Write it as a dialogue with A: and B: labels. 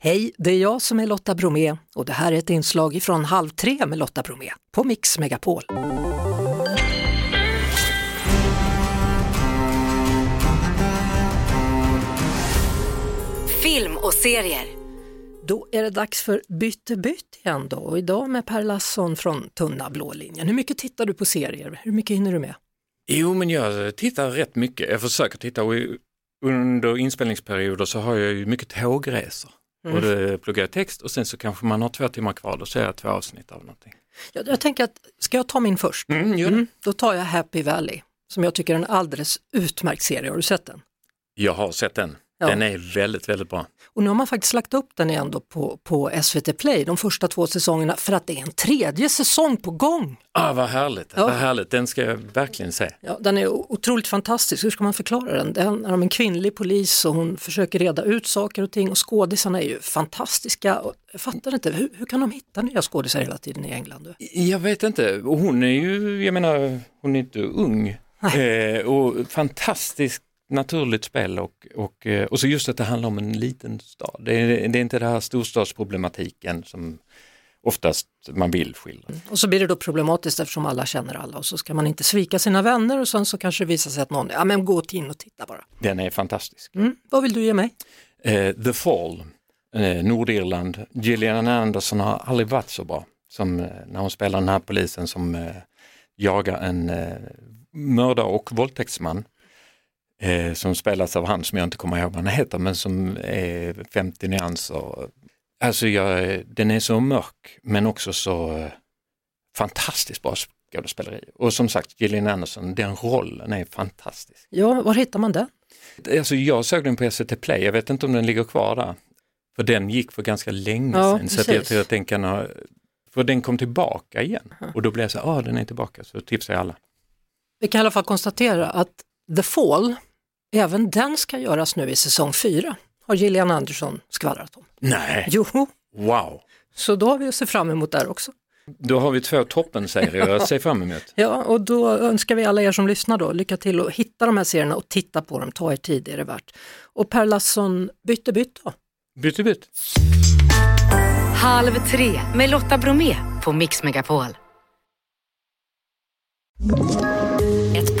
A: Hej, det är jag som är Lotta Bromé och det här är ett inslag från Halv tre med Lotta Bromé på Mix Megapol.
B: Film och serier.
A: Då är det dags för Bytte bytt igen då och idag med Per Lasson från Tunna blå linjen. Hur mycket tittar du på serier? Hur mycket hinner du med?
C: Jo, men jag tittar rätt mycket. Jag försöker titta och i- under inspelningsperioder så har jag ju mycket tågresor.
A: Mm.
C: Och då pluggar jag text och sen så kanske man har två timmar kvar, då ser jag två avsnitt av någonting.
A: Jag, jag tänker att, ska jag ta min först?
C: Mm, gör det.
A: Mm, då tar jag Happy Valley som jag tycker är en alldeles utmärkt serie. Har du sett den?
C: Jag har sett den.
A: Ja.
C: Den är väldigt, väldigt bra.
A: Och nu har man faktiskt lagt upp den igen då på, på SVT Play, de första två säsongerna, för att det är en tredje säsong på gång.
C: Ah, vad härligt,
A: Ja.
C: vad härligt, den ska jag verkligen se.
A: Ja, den är o- otroligt fantastisk, hur ska man förklara den? Den handlar om en kvinnlig polis och hon försöker reda ut saker och ting och skådisarna är ju fantastiska. Och jag fattar inte, hur, hur kan de hitta nya skådisar hela tiden i England? du?
C: Jag vet inte, och hon är ju, jag menar, hon är inte ung. Eh, och fantastiskt naturligt spel och, och, eh, och så just att det handlar om en liten stad. Det är, det är inte den här storstadsproblematiken som oftast man vill skildra.
A: Och så blir det då problematiskt eftersom alla känner alla och så ska man inte svika sina vänner och sen så kanske det visar sig att någon, ja men gå in och titta bara.
C: Den är fantastisk.
A: Mm, vad vill du ge mig?
C: Eh, The Fall, eh, Nordirland. Gillian Anderson har aldrig varit så bra som eh, när hon spelar den här polisen som eh, jagar en eh, mördare och våldtäktsman. Eh, som spelas av han som jag inte kommer ihåg vad han heter men som är 50 nyanser. Alltså jag, eh, den är så mörk men också så eh, fantastiskt bra skådespeleri. Och som sagt Gillian Anderson, den rollen är fantastisk.
A: Ja, var hittar man den?
C: Alltså jag såg den på SVT Play, jag vet inte om den ligger kvar där. För den gick för ganska länge
A: Ja,
C: sedan, så att jag
A: precis.
C: tror att den kan ha, för den kom tillbaka igen. Och då blev jag så här, ah, den är tillbaka, så tipsar jag alla.
A: Vi kan i alla fall konstatera att The Fall, även den ska göras nu i säsong fyra, har Gillian Andersson skvallrat om.
C: Nej,
A: Jo,
C: wow!
A: Så då har vi att se fram emot där också.
C: Då har vi två toppenserier att se fram emot.
A: Ja, och då önskar vi alla er som lyssnar då lycka till att hitta de här serierna och titta på dem, ta er tid, det är det värt. Och Per Lasson, bytte bytt då.
C: Bytt och bytt.
B: Halv tre med Lotta Bromé på Mix Megapol.
D: Ett